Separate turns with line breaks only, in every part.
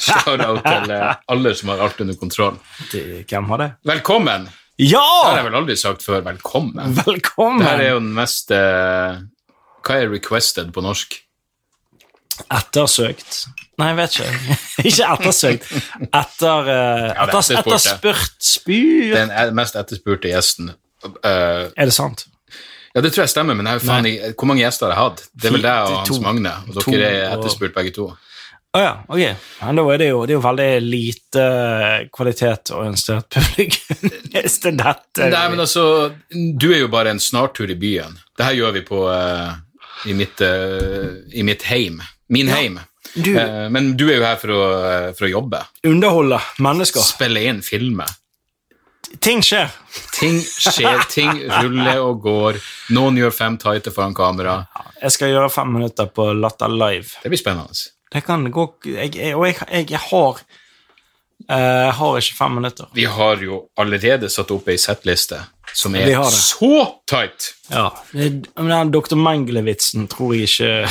shout-out til eh, alle som har alt under kontroll.
Det- Hvem har det?
Velkommen! Det har
Ja!
jeg vel aldri sagt før. Velkommen.
Velkommen!
Det her er jo den mest eh, Hva er 'requested' på norsk?
Ettersøkt. Nei, jeg vet ikke. ikke ettersøkt. Etter, eh,
Ja, det er
etter,
etterspurt, det.
etterspurt. Spyr.
Den e- mest etterspurte gjesten. Eh,
Er det sant?
ja, det tror jeg stemmer, men jeg, faen, jeg, hvor mange gjester har jeg hatt? Det er vel deg og
To.
Hans Magne, og
To
dere er
og-
etterspurt begge to.
Å ja, ok. Men da er det, jo, det er jo veldig lite eh, kvalitetsorientert publikum. Hvis det er dette
Nei, men altså, du er jo bare en snartur i byen. Det her gjør vi på eh, i, mitt, eh, i mitt heim. Min heim.
Du-
Eh, men du er jo her for å, eh, for å jobbe.
Underholde mennesker.
Spille inn filmer.
Ting skjer.
Ting skjer, ting ruller og går. Noen gjør fem tighter foran kamera.
Jeg skal gjøre fem minutter på Latter Live.
Det blir spennende.
Det kan gå jeg, jeg, Og jeg, jeg, jeg har eh, har ikke fem minutter.
Vi har jo allerede satt opp ei settliste som
Vi
er
har det.
så tight!
Ja. det- Men den Dr. Mengele-vitsen tror jeg ikke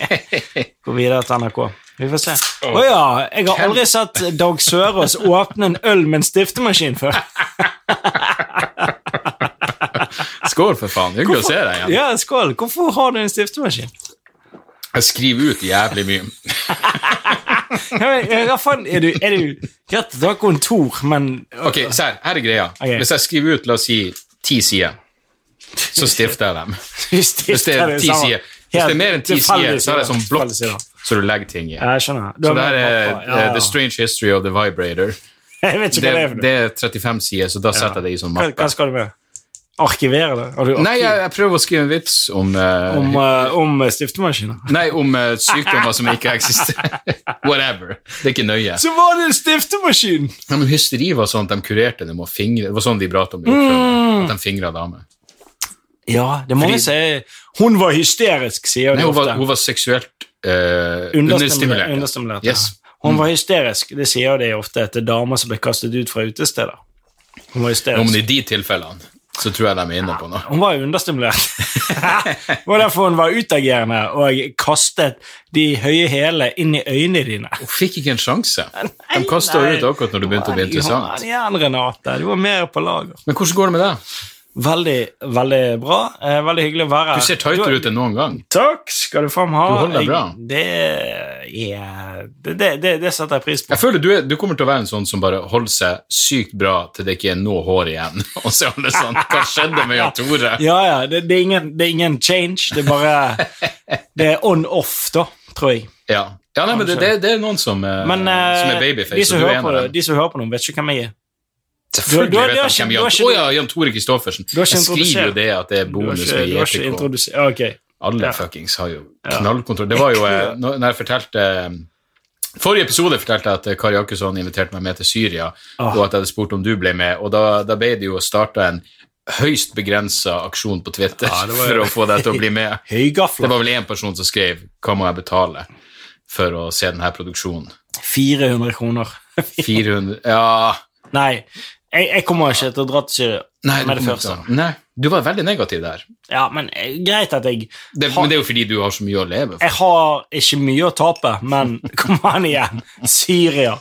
går videre til NRK. Vi får se. Å ja, jeg har aldri sett Dag Sørås åpne en øl med en stiftemaskin før.
Skål, for faen. Hyggelig å se deg igjen.
Ja, skål. Hvorfor har du en stiftemaskin?
Jeg skriver ut jævlig mye.
Ja, men, ja, Hva faen er du, er du Greit, du har kontor, men
Ok, se her. Her er greia.
Ok.
Hvis jeg skriver ut, la oss si, ti sider, så stifter jeg dem.
du
Hvis det
stifter
er ti
sammen.
sider, hvis det er mer enn ti
Helt
sider, så har jeg
tilfeldig
sånn
sider.
blokk
Tilfeldig sider.
så du legger ting i.
Ja, jeg skjønner. Du
Så
har
det her
mer
er
pappa. Ja, ja.
eh, The Strange History of the Vibrator.
Jeg vet ikke
Det,
hva det er for noe.
det er 35 sider, så da setter jeg det i sånn
Hva,
mappe.
hva skal du med? Arkivere det? Har du arkiv
Nei, jeg, jeg prøver å skrive en vits om, eh,
om, eh, om stiftemaskiner?
Nei, om eh, sykdommer som ikke eksisterer. Whatever. Det er ikke nøye.
Så var det en stiftemaskin!
Ja, men hysteri var sånn at de kurerte dem og fingre. Det var sånn de pratet om i
Mm.
opprøret. At de fingra damer.
Ja, det er mange som sier Hun var hysterisk, sier
Nei,
de
hun var,
ofte.
hun var seksuelt eh,
Understimulert.
understimulert.
understimulert ja.
Yes. Mm.
Hun var hysterisk. Det sier de ofte til damer som ble kastet ut fra utesteder. Hun var
Ja, men
hysterisk.
i de tilfellene så tror jeg de er inne på noe.
Hun var jo understimulert. det var derfor hun var utagerende og kastet de høye hælene inn i øynene dine.
Hun fikk ikke en sjanse. De kasta
Nei,
ut akkurat når det begynte å bli interessant.
Kom igjen, Renate. Du var mer på lager.
Men hvordan går det med deg?
Veldig, veldig bra. Eh, Veldig hyggelig å være her.
Du ser tightere ut enn noen gang.
Takk skal du faen ha.
Du holder deg bra.
Jeg- Det, er- det, det, det, det setter jeg pris på.
Jeg føler du, er, du kommer til å være en sånn som bare holder seg sykt bra til det ikke er noe hår igjen. Og så er alle sånn Hva skjedde med Jan Tore?
Ja, ja. Det, det, er ingen, det er ingen change. Det er bare Det er on-off, da, tror jeg.
Ja, ja nei, men det, det, det er noen som, eh,
Men eh,
som er babyface,
de,
og
som
du er
hører
en
på,
av
det-
dem.
de som hører på noen, vet ikke hvem jeg er. du
Selvfølgelig
har-
vet
du har
de
ikke-
hvem
du
Jan
har ikke-
Tore Å ja, Jan Tore Kristoffersen.
har ikke
Jeg skriver
introdusert-
jo det at det er
Du har
bonus E
ikke,
i
du har ikke
EPK.
introdusert Ok.
Alle
Ja.
fuckings har jo knallkontroll. Det var jo eh, når når jeg fortalte eh, Forrige episode fortalte jeg at eh, Kari Jakkesson inviterte meg med til Syria,
Ah.
og at jeg hadde spurt om du ble med, og da, da ble det jo starta en høyst begrensa aksjon på Twitter for å få deg til å bli med. Det
Høygafler.
var vel én person som skrev 'Hva må jeg betale for å se denne produksjonen?'
400 kroner.
400 Ja
Nei, jeg, jeg kommer ikke til å dra til Syria
Nei, du
med det
kommer
første.
ikke til å- Nei, du var veldig negativ der.
Ja, men eh, greit at jeg
Det, men det er jo fordi du har så mye å leve for.
Jeg har ikke mye å tape, men kom an igjen. Syria.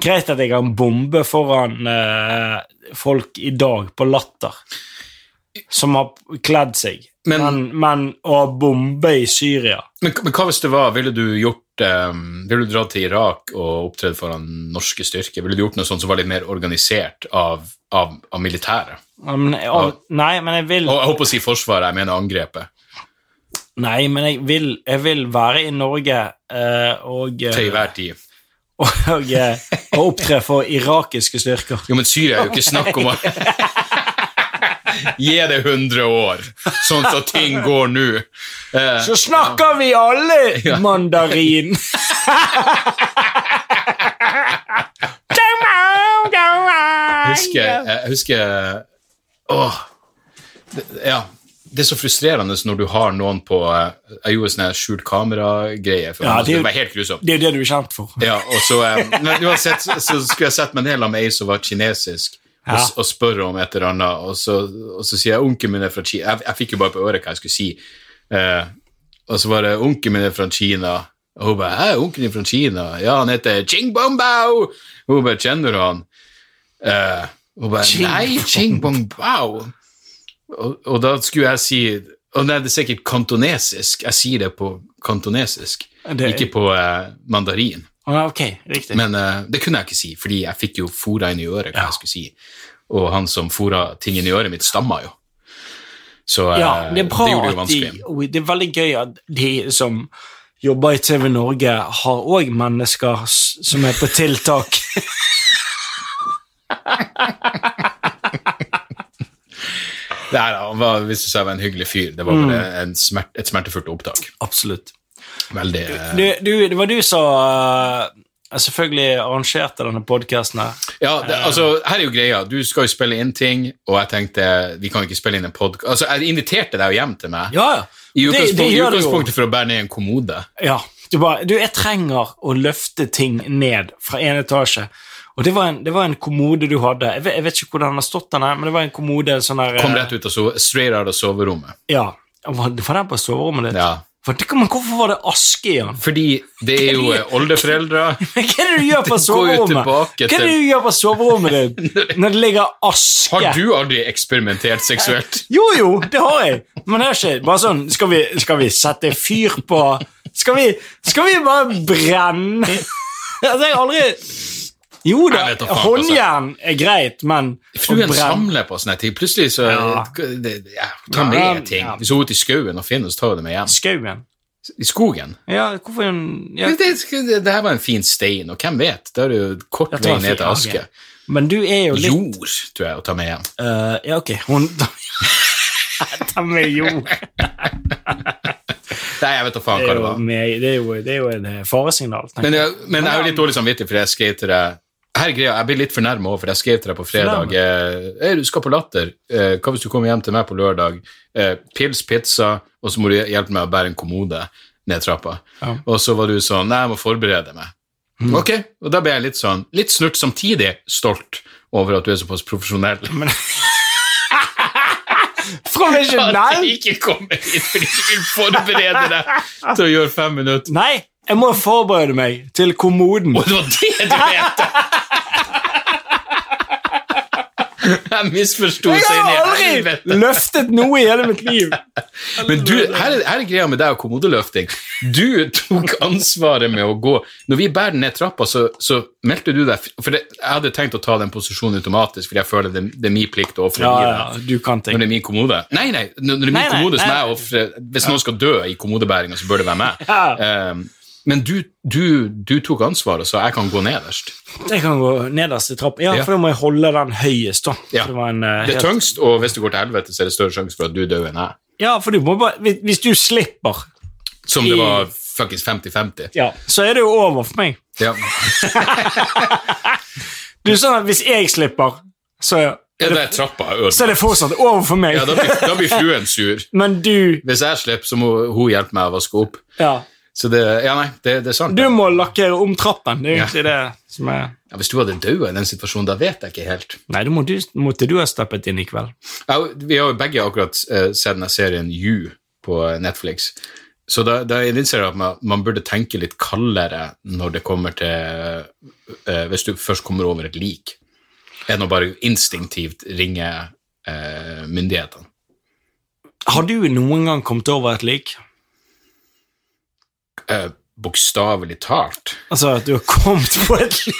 Greit at jeg har en bombe foran eh, folk i dag på Latter som har kledd seg, men,
Men-
men, å ha bombe i Syria
Men, men hva hvis det var Ville du gjort eh, Ville du dratt til Irak og opptredd foran norske styrker? Ville du gjort noe sånt som var litt mer organisert av, av, av militæret?
Ja, men, jeg- å, Nei, men jeg vil
Og jeg håper å si Forsvaret, jeg mener angrepet.
Nei, men jeg vil, jeg vil være i Norge eh, og, eh,
Til enhver tid.
og, eh, og opptre for irakiske styrker.
Jo, men Syria er jo ikke snakk om å Gi det 100 år, sånn som ting går nå. Eh,
Så snakker vi alle mandarin.
husker, jeg husker Åh! Det, ja. Det er så frustrerende når du har noen på eh, Jeg gjorde sånn her skjult kamera-greie. for
Ja,
meg, så
det er jo-
det var helt grusomt.
Det er jo det du er kjent for.
Ja, og så, eh, men uansett så, så skulle jeg sett meg ned med ei som var kinesisk, og, s- og spørre om et eller annet, og så, og så sier jeg onkelen min er fra Kina. Jeg, jeg fikk jo bare på øret hva jeg skulle si. Eh, og så var det onkelen min er fra Kina, Og hun bare 'Hæ, onkelen din fra Kina?' 'Ja, han heter Ching Bong Bao.' Og Hun bare 'Kjenner du han?' Eh, hun bare
Ching
'Nei, Ching Bong Bao'. Og, og da skulle jeg si Å nei, det er sikkert kantonesisk. Jeg sier det på kantonesisk,
Det-
ikke på eh, mandarin.
Å, ja, ok, riktig.
Men eh, det kunne jeg ikke si, fordi jeg fikk jo fora inn i øret hva jeg skulle si. Og han som fora ting inn i øret mitt, stamma jo. Så eh,
ja, det er bra
gjorde det jo
at de
vanskelig.
og Det er veldig gøy at de som jobber i TV Norge, har òg mennesker s- som er på tiltak.
Det her, han var, hvis du sa jeg var en hyggelig fyr, det var
Mm.
bare en smert, et smertefullt opptak.
Absolutt.
Veldig eh,
Du, du, det var du som eh, selvfølgelig arrangerte denne podkasten her.
Ja, det, altså, her er jo greia. Du skal jo spille inn ting, og jeg tenkte vi kan ikke spille inn en podkast Altså, jeg inviterte deg jo hjem til meg.
Ja, ja.
I
Det- det
utgangspunktet, i
gjør det jo.
utgangspunktet for å bære ned en kommode.
Ja. Du bare Du, jeg trenger å løfte ting ned fra en etasje. Og det var en, det var en kommode du hadde. Jeg vet, jeg vet ikke hvordan den har stått, den her, men det var en kommode sånn der eh,
Kom rett ut av so straight out av soverommet.
Ja. Var, var den på soverommet ditt?
Ja.
For, det- men hvorfor var det aske i den?
Fordi det er jo eh, oldeforeldre
Men hva er det du gjør
går
på
jo
soverommet?
tilbake
Hva er det
til-
du gjør på soverommet ditt når det ligger aske?
Har du aldri eksperimentert seksuelt?
Jo, jo, det har jeg. Men det er ikke bare sånn Skal vi, skal vi sette fyr på Skal vi, skal vi bare brenne Altså, jeg har aldri Jo da,
Jeg vet da faen, altså.
håndjern er greit, men å
Fruen
brenne
samler på sånne ting. Plutselig så
Ja.
det, ja, tar med ting.
Ja.
Hvis hun er ute i skauen og finner, så tar hun det med hjem.
Skauen?
I skogen.
Ja, hvorfor er hun ja.
Men Det, det, det her var en fin stein, og hvem vet? Da er det jo kort
Jeg
vei
tar
ned til
fyr,
aske.
ok. Men du er jo litt
Jord, tror jeg, å ta med hjem.
Eh, ja, ok. Hun Ta med jord.
Nei, jeg vet da faen hva
Det
det
er jo,
var.
meg- det er jo, det er jo en eh, faresignal. tenker
Men jeg, men jeg har jo litt dårlig samvittighet, for jeg skrev til deg her er greia, Jeg blir litt fornærma òg, for jeg skrev til deg på fredag eh, «Ei, Du skal på Latter. Eh, hva hvis du kommer hjem til meg på lørdag? Eh, pils, pizza, og så må du hjelpe meg å bære en kommode ned trappa.
Ja.
Og så var du sånn Nei, jeg må forberede meg. Ok, og da ble jeg litt sånn Litt snurt, samtidig stolt over at du er såpass profesjonell. At du
Profesjonell?
ikke kommer hit fordi du vil forberede deg til å gjøre fem minutter.
Nei, jeg må forberede meg til kommoden.
Og det var det du mente! Jeg misforsto
Jeg
seg inn i
har
helvete.
aldri løftet noe i hele mitt liv.
Men du, her er, her er greia med deg og kommodeløfting. Du tok ansvaret med å gå Når vi bærer den ned trappa, så, så meldte du deg For det, jeg hadde tenkt å ta den posisjonen automatisk, fordi jeg føler det, det er min plikt å ofre
Ja,
livet.
ja, du kan
Når
ting.
det er min kommode? Nei, nei, når det er min
Nei, nei,
kommode som
nei.
jeg offrer Hvis noen skal dø i kommodebæringa, så bør det være meg.
Ja.
Um, men du, du, du tok ansvaret, så jeg kan gå nederst.
Jeg kan gå nederst i trappa. Ja,
Ja.
for da må jeg holde den høyest, da.
Ja.
For det var en, eh,
Det er
helt-
tøngst, og hvis det går til helvete, så er det større sjanse for at du dør enn jeg.
Ja, for du må bare hvis- Hvis du slipper,
Som det var fuckings 50-50.
ja, så er det jo over for meg.
Ja.
Du er sånn at hvis jeg slipper, så,
Ja, det er trappa jeg ødelegger.
så er det fortsatt over for meg.
Ja, da blir, da blir fruen sur.
Men du
Hvis jeg slipper, så må hun hjelpe meg å vaske opp.
Ja.
Så det Ja, nei, det, det er sant.
Du må lakkere om trappen. Det er jo
Ja.
egentlig det som er
Ja, hvis du hadde dødd i den situasjonen, da vet jeg ikke helt.
Nei, det må du, måtte du ha steppet inn i kveld.
Ja, vi har jo begge akkurat eh, sett denne serien You på Netflix. Så da, da innser jeg at man, man burde tenke litt kaldere når det kommer til eh, Hvis du først kommer over et lik, enn å bare instinktivt ringe eh, myndighetene.
Har du noen gang kommet over et lik?
Eh, Bokstavelig talt.
Altså at du har kommet på et lik?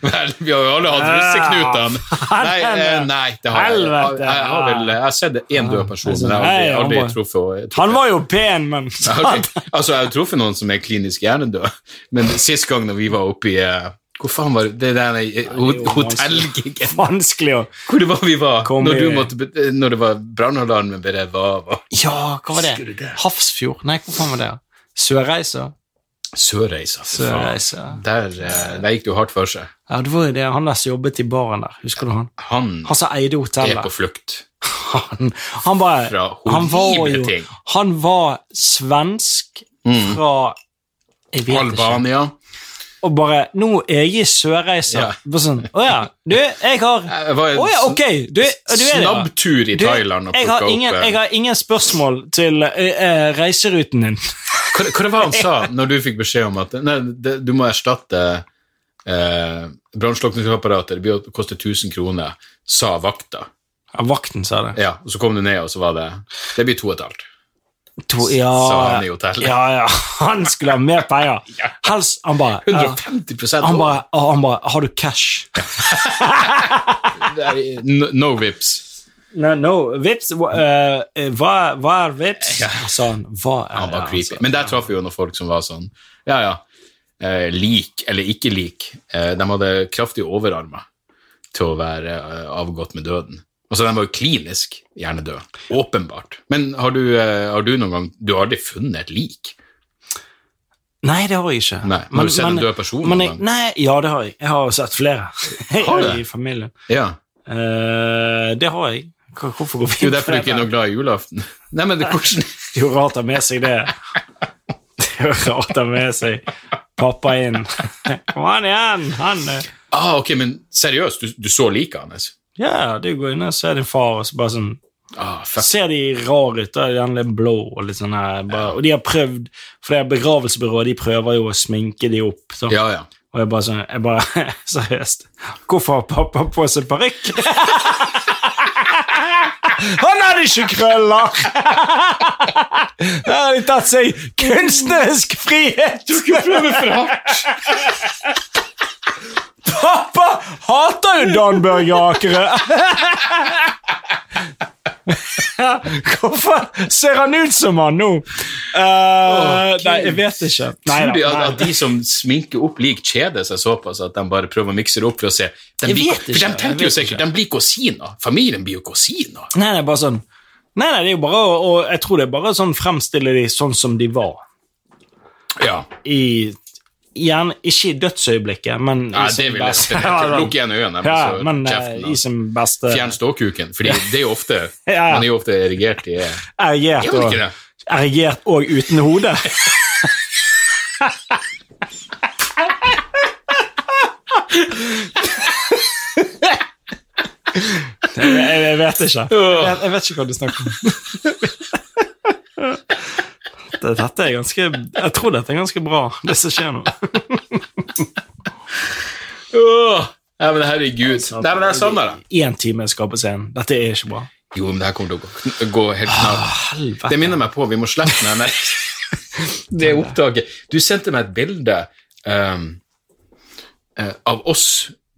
Vel, vi har jo alle hatt russeknutene. Nei, eh, nei, det har jeg. Jeg,
Helvete.
jeg har vel jeg har sett én død person, men jeg har aldri,
Nei, han
aldri truffet
Han var jo pen, men
Ja, ok. Altså, jeg har truffet noen som er klinisk hjernedød, men sist gang når vi var oppe i eh, Hvor faen var det? det der eh, ho-
det er jo
hotellgiggen?
vanskelig å
Hvor det var vi var?
Kom
Når, du
i-
måtte, be- eh, når det var brannalarmen ble revet av? og-
Ja, hva var
Husker du
det?
det?
Hafrsfjord? Nei, hvor faen var det? Sørreisa?
Sørreisa, for faen.
Sørreisa.
Der, eh, der gikk det jo hardt for seg.
Ja, det var jo det. Han der som jobbet i baren der, husker du han?
Han
Han som
er
eide
på
hotellet.
flukt.
Han, han bare
Fra
han var,
horrible
jo,
ting. Mm.
han var svensk fra Jeg vet ikke.
Albania.
og bare 'Nå er jeg i Sørreisa.'
Ja.
Bare sånn 'Å ja, du, jeg har
Det var en
Å ja, ok! Du, du er det, ja.»
snabbtur i
Du,
Thailand og
jeg har,
plukka opp
ingen,
eh,
jeg har ingen spørsmål til eh, eh, reiseruten din.
Hva, hva det var han sa når du fikk beskjed om at nei, det, du må erstatte eh, brannslukningsapparatet, det blir å koste 1000 kroner, sa vakta.
Ja, vakten sa det.
Ja, og så kom du ned, og så var det Det blir to og et halvt.
To, ja,
Sa han i hotellet.
Ah, Ja, ja. Han skulle ha mer penger. Helst Han bare ja.
150
Han
over.
bare, og han bare 'Har du cash?'
Det er- no, no vips.
No, no, vips eh, eh, hva, hva er vips? Sa Altså, han. Hva er
Han var
ja,
creepy.
altså.
Men der traff vi jo noen folk som var sånn Ja, ja. Eh, lik eller ikke lik. Eh, de hadde kraftige overarmer til å være eh, avgått med døden. Og så De var jo klinisk hjernedøde. Åpenbart. Men har du, eh, har du noen gang Du har aldri funnet et lik?
Nei, det har jeg ikke.
Nei, men har du sett en død person
men
noen
jeg,
gang?
Nei, ja, det har jeg. Jeg har sett flere
Har du det?
i familien.
Ja.
Eh, det har jeg. Hva- Hvorfor går
Det er jo
vi inn på
derfor du ikke er noe glad i julaften. Nei, men det, hvordan
Det er jo rart å ha med seg det. Det er jo rart å ha med seg pappa inn. Kom an igjen! Han eh,
ah, Ok, men seriøst, du, du så liket hans?
Ja, du går inn og ser din far, og så bare sånn
Ah, fuck.
Ser de rar ut, da? Gjerne litt blå og litt sånn her. Bare, og de har prøvd, for det er begravelsesbyrået, de prøver jo å sminke de opp. Så.
Ja, ja.
Og jeg bare sånn jeg bare, Seriøst. Hvorfor har pappa på seg parykk? Han hadde ikke krøller! Der har de tatt seg kunstnerisk frihet! Pappa hater jo Dan Børge Akerø! Hvorfor ser han ut som han nå? Eh, nei, jeg vet ikke. Neida,
Tror de at,
nei.
at de som sminker opp lik, kjeder seg såpass at de bare prøver å mikse det opp for å se de
Jeg
blir,
vet ikke,
For de
jeg
tenker jo
vet
sikkert de blir kusiner. Familien blir jo kusiner.
Nei, nei, bare sånn Nei, nei, det er jo bare å- Og jeg tror det er bare sånn fremstille de sånn som de var.
Ja.
I Gjerne ikke i dødsøyeblikket, men
Nei,
i
det
sin
vil jeg
beste-
se.
Ja, sånn.
Lukk igjen øynene, men
Ja,
så
men eh,
kjeften.
i
da.
sin beste
Fjern ståkuken, for det er jo ofte
Ja.
Man er jo ofte erigert i Gjør
Erigert
man
og,
ikke det?
erigert og uten hode. jeg, jeg, jeg vet ikke. Jeg vet, jeg vet ikke hva du snakker om. Det- Dette er ganske, jeg tror dette er ganske bra, det som skjer nå.
Åh, Nei, men herregud. Nei, men jeg savner det. sånn
Én time skal på scenen. Dette er ikke bra.
Jo, men det her kommer til å gå, gå helt knall. Det
Helvete.
minner meg på, vi må slette den her Det opptaket. Du sendte meg et bilde ehm, eh, av oss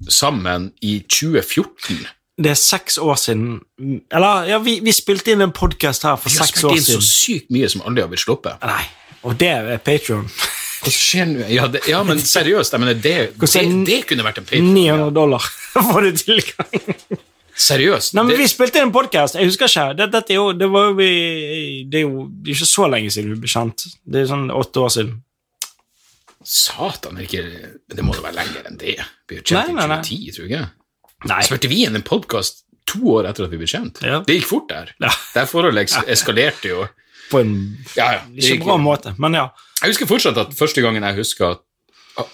sammen i 2014.
Det er seks år siden Eller, ja, vi, vi spilte inn en podkast her for
Vi har
seks
spilt
år
inn så
siden.
sykt mye som aldri har blitt sluppet.
Nei. Og det er Patrion.
Hva skjer nå? Ja, det, ja, men seriøst, jeg mener, det, det,
Hvordan-
det kunne vært en pay.
900 dollar får du tilgang.
Seriøst.
Nei, men
det-
Vi spilte inn en podkast. Jeg husker ikke. Det, dette er jo, det, var jo vi, det er jo ikke så lenge siden vi ble kjent. Det er sånn åtte år siden.
Satan, er det ikke, det må da være lenger enn det. Vi ble kjent
Nei, nei, nei.
i 2010, tror jeg. ikke?
Nei.
Spilte vi inn en podkast to år etter at vi ble kjent?
Ja.
Det gikk fort der.
Ja.
Det her forholdet eks- eskalerte jo.
På en
Ja, ja. det
ikke
gikk-
bra måte, men ja.
Jeg husker fortsatt at første gangen jeg husker at,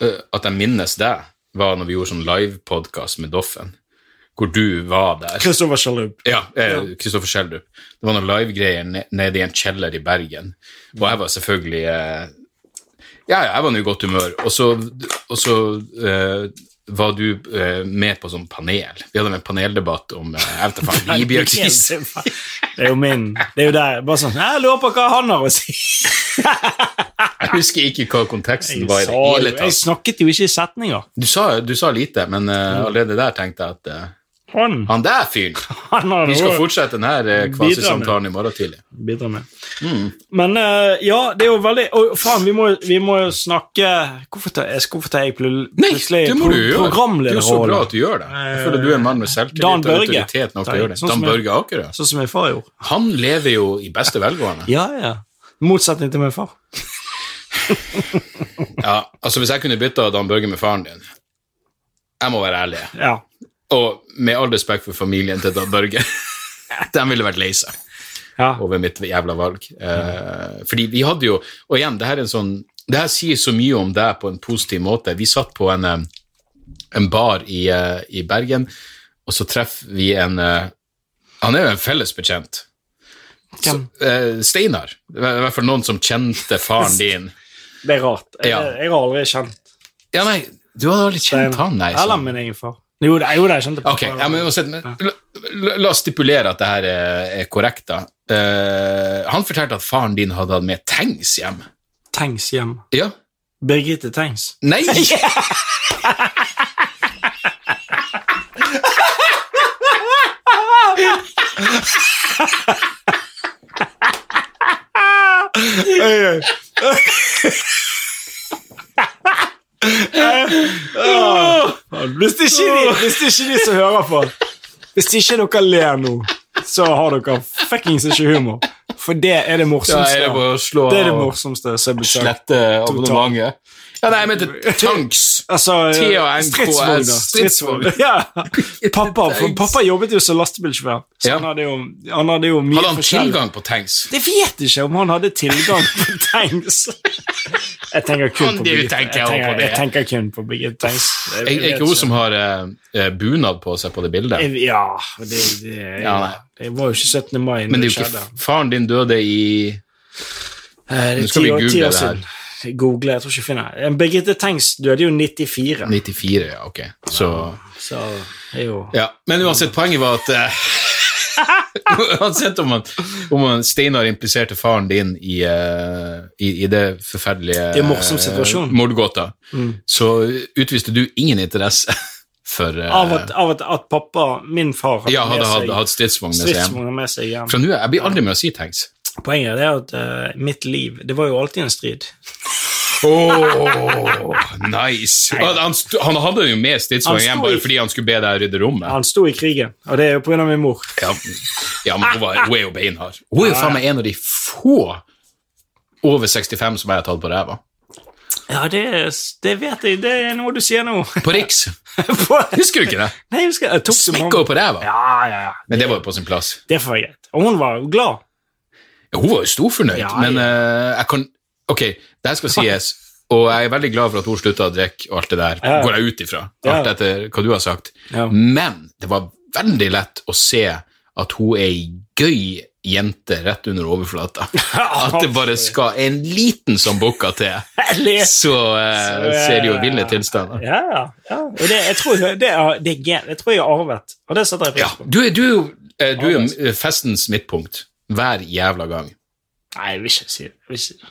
eh, at jeg minnes deg, var når vi gjorde sånn livepodkast med Doffen, hvor du var der.
Kristoffer Sjalup.
Ja, eh, Kristoffer Schjelderup. Det var noen livegreier ne- nede i en kjeller i Bergen, og jeg var selvfølgelig eh, Ja, ja, jeg var nå i godt humør, og så, og så eh, var du eh, med på sånn panel. Vi hadde en paneldebatt om eh, jeg vet da faen, Libya-krisen.
Det er jo min. Det er jo der. Bare sånn Jeg lurer på hva han har å si.
Jeg husker ikke hva konteksten
Jeg,
var i
sa
det
jo-
hele
jeg
tatt.
snakket jo ikke i setninger.
Du sa, du sa lite, men eh, allerede der tenkte jeg at eh,
Han,
Han der fyren!
han har
Vi skal
noe-
fortsette denne kvasisamtalen i morgen tidlig.
bidra med.
Mm.
Men eh, ja, det er jo veldig Å, faen, vi må, vi må jo snakke Hvorfor tar jeg, hvorfor tar jeg pl-
Nei,
plutselig
det må du gjøre! Det er jo så bra
programlederrollen?
at du gjør det. Jeg føler du er en mann med selvtillit
Eh, Dan
og
Børge.
autoritet nok til å gjøre det.
Sånn som
Dan
jeg-
Børge Akerø.
Sånn som min far gjorde.
Han lever jo i beste velgående.
Ja, ja. Motsetning til min far.
Ja, altså Hvis jeg kunne bytta Dan Børge med faren din Jeg må være ærlig.
Ja.
Og med all respekt for familien til Dan Børge De ville vært lei seg
ja.
over mitt jævla valg. Eh, fordi vi hadde jo Og igjen, det her er en sånn det her sier så mye om deg på en positiv måte. Vi satt på en, eh, en bar i, eh, i Bergen, og så treffer vi en eh, Han er jo en fellesbetjent.
Hvem?
Eh, Steinar. I hvert fall noen som kjente faren din.
Det er rart. Jeg,
Ja.
jeg har aldri kjent
Ja, nei, du hadde aldri kjent han, nei.
Eller
sånn.
min egen far. Jo, det, jo, det jeg kjente på
Ok, ja, men, uansett, men, la, la- la oss stipulere at det her er, er korrekt, da. Eh, han fortalte at faren din hadde hatt med tanks hjem.
Tengs hjem.
Ja.
Birgitte Tengs.
Nei!
Hvis det ikke er de, hvis det ikke er de som hører på Hvis det ikke er dere ler nå, så har dere fuckings ikke humor. For det er det
Da er
morsomste.
det bare å slå
det er det morsomste som er besøkt.
slette abonnementet. Ja, nei, jeg mente tanks.
Altså,
T.A.N.K.S.
stridsvogn. da. Stridsvogn. Ja. Pappa, for pappa jobbet jo som lastebilsjåfør, så
Ja.
han hadde jo, han hadde jo mye
Hadde han
forskjell.
tilgang på tanks?
Jeg vet ikke om han hadde tilgang på tanks. Jeg tenker kun
Kan
på
du
Birgitte. Jeg
tenke over
tenker,
det?
jeg tenker kun på Birgitte Tengs. Jeg-
Er
jeg
er
vet
ikke hun som har eh, eh, bunad på seg på det bildet?
Jeg- Ja, det, det,
Ja, nei.
det var jo ikke 17. mai når
Men det
det
er jo
skjedde.
ikke Faren din døde i
Eh,
Nå
Det er
skal
ti
vi
år,
google
ti år
det her.
siden. Google, jeg tror ikke jeg finner det. Eh, Birgitte Tengs døde jo 94,
94, ja, ok. Så
så det er jo
Ja, men uansett, poenget var at eh, Uansett om, han, om han Steinar impliserte faren din i, eh, i, i det forferdelige
Det er en morsom situasjon. Mm.
eh, mordgåta, så utviste du ingen interesse for eh,
Av at, av at, at pappa, min far, hadde
Ja, hadde
med
hatt-
seg
hatt stridsvogn med seg hjem.
stridsvogner med seg hjem.
Fra nå av Jeg blir aldri med å si tanks.
Poenget er at eh, mitt liv, det var jo alltid en strid.
Oh, nice! Han, han st- han hadde jo med stridsvogn
Han
hjem
sto i-
bare fordi han skulle be deg rydde rommet.
Han sto i krigen, og det er jo på grunn av min mor.
Ja, ja men hun, var, hun er jo beinhard. Hun er jo faen meg en av de få over 65 som jeg har tatt på ræva.
Ja, det, er- det vet jeg. Det er noe du sier nå.
På Riks.
På-
Husker du ikke det?
Nei, jeg husker jeg tok det med
Smekka henne på ræva.
Ja, ja, ja.
Men det var jo på sin plass.
Det får jeg greit. Og hun var jo glad.
Ja, Hun var jo storfornøyd,
Ja, ja.
men eh, jeg kan Ok, det her skal sies, og jeg er veldig glad for at hun slutta å drikke og alt det der,
Ja.
går jeg ut ifra, alt
Ja.
etter hva du har sagt.
Ja.
Men det var veldig lett å se at hun er ei gøy jente rett under overflata. At det bare skal en liten som bukker til,
Jeg leser.
så eh,
Så, eh,
ser det jo ville tilstander.
Ja, ja, ja. Og det, jeg, tror, det er, det er, gen- jeg tror jeg har arvet, og det setter jeg
Ja,
pris på.
du, er- du, er jo- eh, du er jo festens midtpunkt hver jævla gang.
Nei, jeg vil ikke si det. Jeg vil ikke.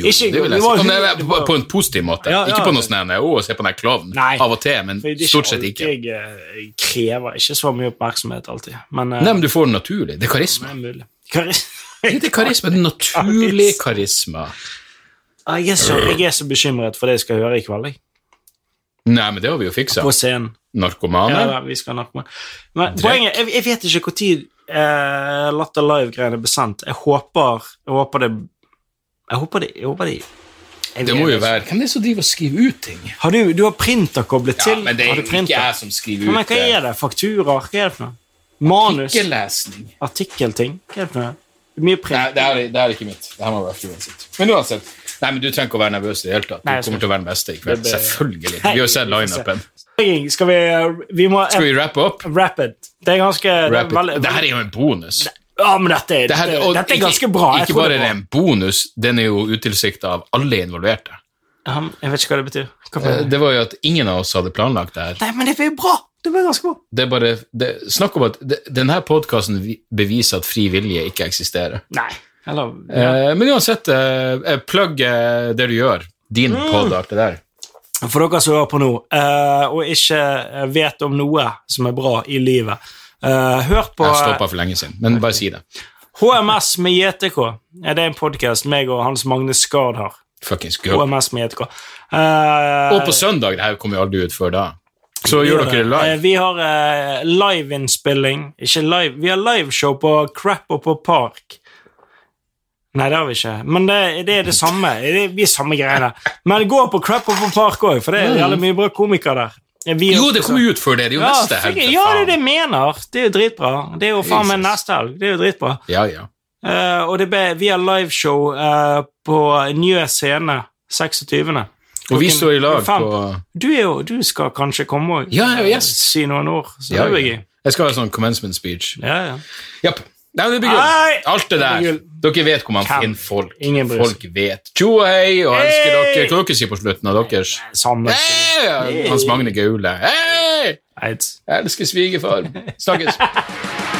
Jo,
Ikke-
det vil jeg
det var-
si. Nei, nei, på, på en positiv måte.
Ja, ja,
ikke på noe
det-
sånn her, å, se på den her klovnen.
Nei.
Av og til, men
For det er ikke
stort sett
alltid
ikke.
Jeg eh, krever ikke så mye oppmerksomhet alltid, men eh,
Nei, men du får det naturlig. Det er
det
karisma.
er mulig. Karis-
Det er karisma, det er naturlig karisma.
Ah, Jeg er, så, jeg er så bekymret for det jeg skal høre i kveld, jeg.
Nei, men det har vi jo fiksa.
på scenen. Ja,
Narkomane.
da, vi skal nok med. Men poenget, jeg, jeg vet ikke når eh, Latter Live-greiene ble sendt. Jeg håper, jeg håper det Jeg håper det, jeg håper det jeg
Det
vet
må jo
ikke.
være Hvem er det som driver og skriver ut ting?
Har du, du har printer koblet
Ja,
til?
men det
har
er
du
jo
printer?
ikke jeg som skriver
Ja, men
ut eh,
hva
det.
er det? Fakturer? Hva er det for noe? Manus?
Ikke-lesning.
Artikkelting? Hva er det for noe? Mye
Nei,
print.
det her, er- det her er ikke mitt. Det her må være Fruen sitt. Men uansett. Nei, men Du trenger ikke å være nervøs i det hele tatt.
Nei,
Du
jeg skal
kommer til å være den beste i kveld.
Det blir-
Selvfølgelig. Vi har jo sett
Nei, vi får se.
lineupen.
Skal vi eh, Vi må
Skal vi wrappe opp?
Rapid. Det er ganske det
Wrap
er veldig,
it. Det her er jo en bonus.
Ja, men dette er,
Det her- og
dette er
ikke-
ganske bra. Jeg
Ikke
tror
bare
det
er det
er bra.
en bonus, den er jo utilsikta av alle involverte.
Ja, men Jeg vet ikke hva det betyr. Hva for-
Eh, Det var jo at ingen av oss hadde planlagt det her.
Nei, men det blir bra! Det blir ganske bra.
Det er bare, det, snakk om at det, denne podkasten beviser at fri vilje ikke eksisterer.
Nei. Eller ja.
Eh, men uansett, eh, eh, plugg eh, det du gjør. Din
Mm.
podd, alt det der.
For dere som hører på nå, eh, og ikke eh, vet om noe som er bra i livet, eh, hør på eh,
Jeg stoppa for lenge siden, men bare si det.
HMS med JTK. Ja, det er en podkast meg og Hans Magne Skard har.
Fuckings go.
HMS med JTK. Eh,
Og på søndag, det her kommer jo aldri ut før da. Så
vi
gjør
gjør
dere det
Eh,
live.
Vi har eh, liveinnspilling. Ikke live, vi har liveshow på Crap og på Park. Nei, det har vi ikke, men det, det er det samme. Det er, vi er samme greiene. Men gå på Crap og på Park òg, for det er jævlig mye bra komikere der. Eh, Vi er
Jo,
også
det
så-
kommer jo ut før det. Det er jo
ja,
neste
fikk-
helg.
Ja,
for
det er det
faen.
jeg mener. Det er jo dritbra. Det er jo faen meg
Jesus.
neste helg. Det er jo dritbra.
Ja, ja.
Eh, og det ble, vi har liveshow eh, på Njø scene 26.
Og vi står i lag
Fem.
på
Du, er jo, du skal kanskje komme og
Ja, jeg er jo gjest.
si noen ord, så
Ja,
det blir
ja.
gøy.
Jeg skal ha en sånn commencement speech.
Ja, ja.
Japp. Nei, men det blir
Nei!
gull. Alt det
Det blir
der.
gull.
Dere vet hvor man
Hvem?
finner folk.
Ingen bryr seg.
Folk vet. Tjo og hei, og elsker
Hei!
dere. Hva dere sier på slutten av deres?
Samme.
Hei! Hans Magne Gaule. Hei!
Eids.
Jeg elsker svigerfar. Snakkes.